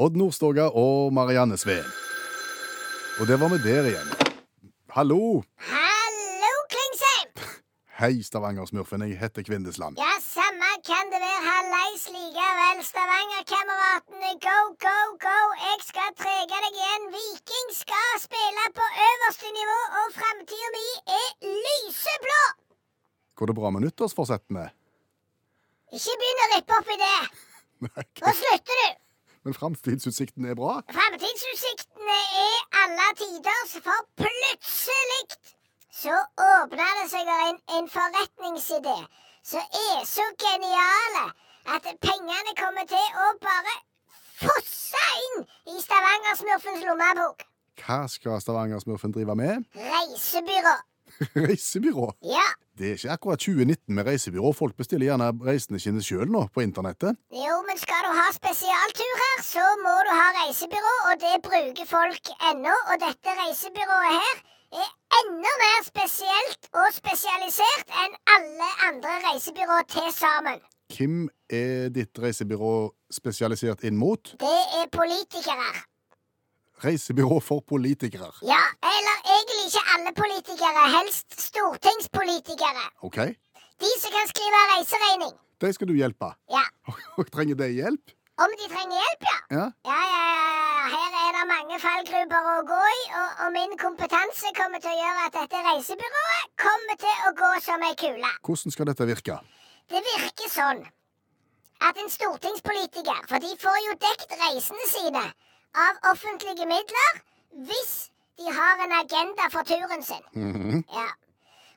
Odd Nordstoga og Marianne Sveen. Og der var vi der igjen. Hallo! Hallo, Klingsheim! Hei, Stavanger-smurfen. Jeg heter Kvindesland. Ja, samme kan det være. Hallais likevel, Stavanger-kameratene. Go, go, go! Jeg skal trege deg igjen. Viking skal spille på øverste nivå, og framtida mi er lyseblå! Går det bra med nyttårsforsettene? Ikke begynn å rippe opp i det. Nei, Nå slutter du. men framtidsutsiktene er bra. Framtidsutsiktene er alle tiders, for plutselig så åpner det seg en, en forretningsidé som er så geniale at pengene kommer til å bare fosse inn i Stavanger-smurfens lommebok. Hva skal Stavanger-smurfen drive med? Reisebyrå. Reisebyrå. Ja, Det er ikke akkurat 2019 med reisebyrå. Folk bestiller gjerne reisene sine sjøl nå, på internettet. jo, men skal du ha spesialturer, så må du ha reisebyrå, og det bruker folk ennå. Og dette reisebyrået her er enda mer spesielt og spesialisert enn alle andre reisebyrå til sammen. Hvem er ditt reisebyrå spesialisert inn mot? Det er politikere. Reisebyrå for politikere. Ja, eller egentlig ikke alle politikere, helst stortingspolitikere. OK? De som kan skrive reiseregning. De skal du hjelpe. Ja. Og Trenger de hjelp? Om de trenger hjelp, ja. Ja. Ja, ja, ja. Her er det mange fallgruber å gå i, og, og min kompetanse kommer til å gjøre at dette reisebyrået kommer til å gå som ei kule. Hvordan skal dette virke? Det virker sånn at en stortingspolitiker, for de får jo dekt reisene sine av offentlige midler hvis de har en agenda for turen sin. Ja.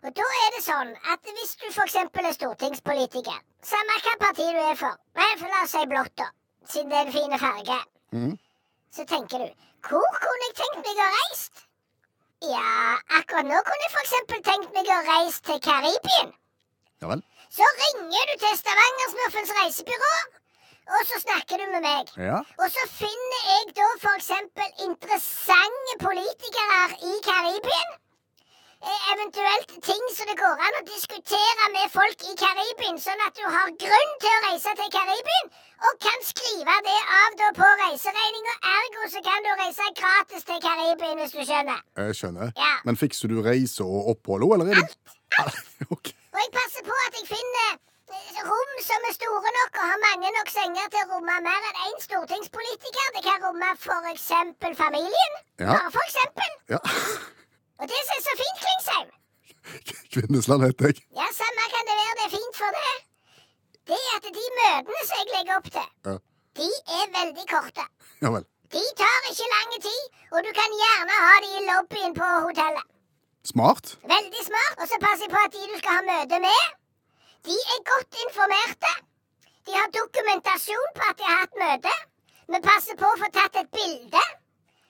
Og da er det sånn at hvis du f.eks. er stortingspolitiker, samme hva parti du er for, men for la oss si blått, da, siden det er en fin farge, Mhm. så tenker du Hvor kunne jeg tenkt meg å reist? Ja, akkurat nå kunne jeg f.eks. tenkt meg å reise til Karibien. Ja vel? Så ringer du til Stavangersmurfens reisebyrå, og så snakker du med meg. Ja. Og så finner jeg da f.eks. interessante politikere i Karibien. Eh, Eventuelt ting som det går an å diskutere med folk i Karibien, sånn at du har grunn til å reise til Karibien, og kan skrive det av da på reiseregninga. Ergo så kan du reise gratis til Karibien, hvis du skjønner. Jeg skjønner. Ja. Men fikser du reise og opphold òg, eller er det Ah, OK. Og jeg passer på at jeg finner eh, rom som er store nok og har mange nok senger til å romme mer enn én stortingspolitiker. Det kan romme f.eks. familien. Ja. Bare for eksempel. Ja. Og det som er så fint, Klingsheim Kvinnesland heter jeg. Ja, samme kan det være det er fint for det. Det er at de møtene som jeg legger opp til, Ja. de er veldig korte. Ja vel. De tar ikke lang tid, og du kan gjerne ha de i lobbyen på hotellet. Smart. Veldig smart. Og så passer jeg på at de du skal ha møte med, de er godt informerte. De har dokumentasjon på at de har hatt møte. Vi passer på å få tatt et bilde,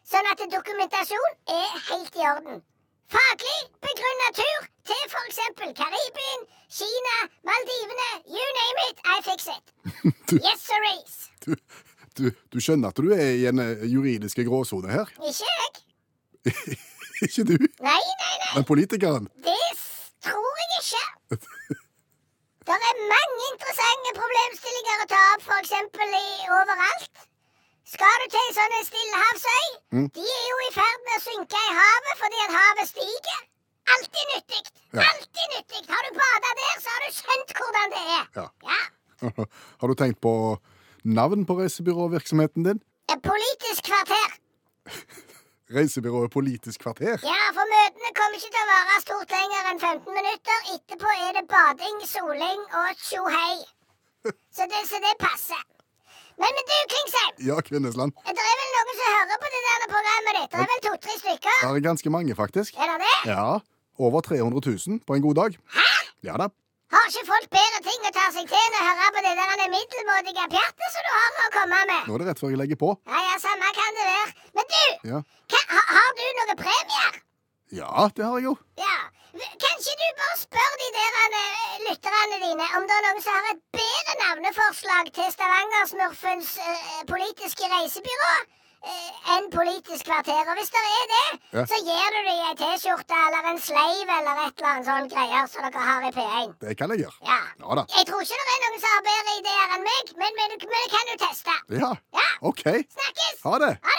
sånn at dokumentasjon er helt i orden. Faglig begrunna tur til f.eks. Karibien, Kina, Maldivene, you name it, I fix it. Du- Yes, sirs. Du, du, du skjønner at du er i en eh, juridiske gråsone her? Ikke jeg. Ikke du, Nei, nei, nei. men politikeren. Det s- tror jeg ikke. Det er mange interessante problemstillinger å ta opp, f.eks. overalt. Skal du til ei sånn en stillehavsøy? Mm. De er jo i ferd med å synke i havet fordi at havet stiger. Alltid nyttig. Ja. Alltid nyttig. Har du bada der, så har du skjønt hvordan det er. Ja. Ja. Har du tenkt på navn på reisebyråvirksomheten din? Et Politisk kvarter. Reisebyrået Politisk kvarter? Ja, for møtene kommer ikke til å vare stort lenger enn 15 minutter. Etterpå er det bading, soling og tjohei. Så det, så det passer. Men, men du, Klingsheim. Ja, Kvinnesland. Det er vel noen som hører på det der programmet ditt? Det er vel to-tre stykker? Her er ganske mange, faktisk. Er det det? Ja, over 300 000 på en god dag. Hæ? Ja da. Har ikke folk bedre ting å ta seg til enn å høre på det der middelmådige pjattet som du har å komme med? Nå er det rett før jeg legger på. Ja, ja, samme kan det være. Men du, Ja, hva, ha, har du noen premier? ja det har jeg jo. Ja. Kan ikke du bare spørre de der eh, lytterne dine om det er noen som har et bedre navneforslag til Stavangersmurfens eh, politiske reisebyrå eh, enn Politisk kvarter. Og hvis det er det, Ja. så gir du dem ei T-skjorte eller en sleiv eller et eller annet sånn greier som dere har i P1. Det kan jeg gjøre. Ja. Ja da. Jeg tror ikke det er noen som har bedre ideer enn meg, men, men, men det kan du teste. Ja. Ja. OK. Snakkes! Ha det. Ha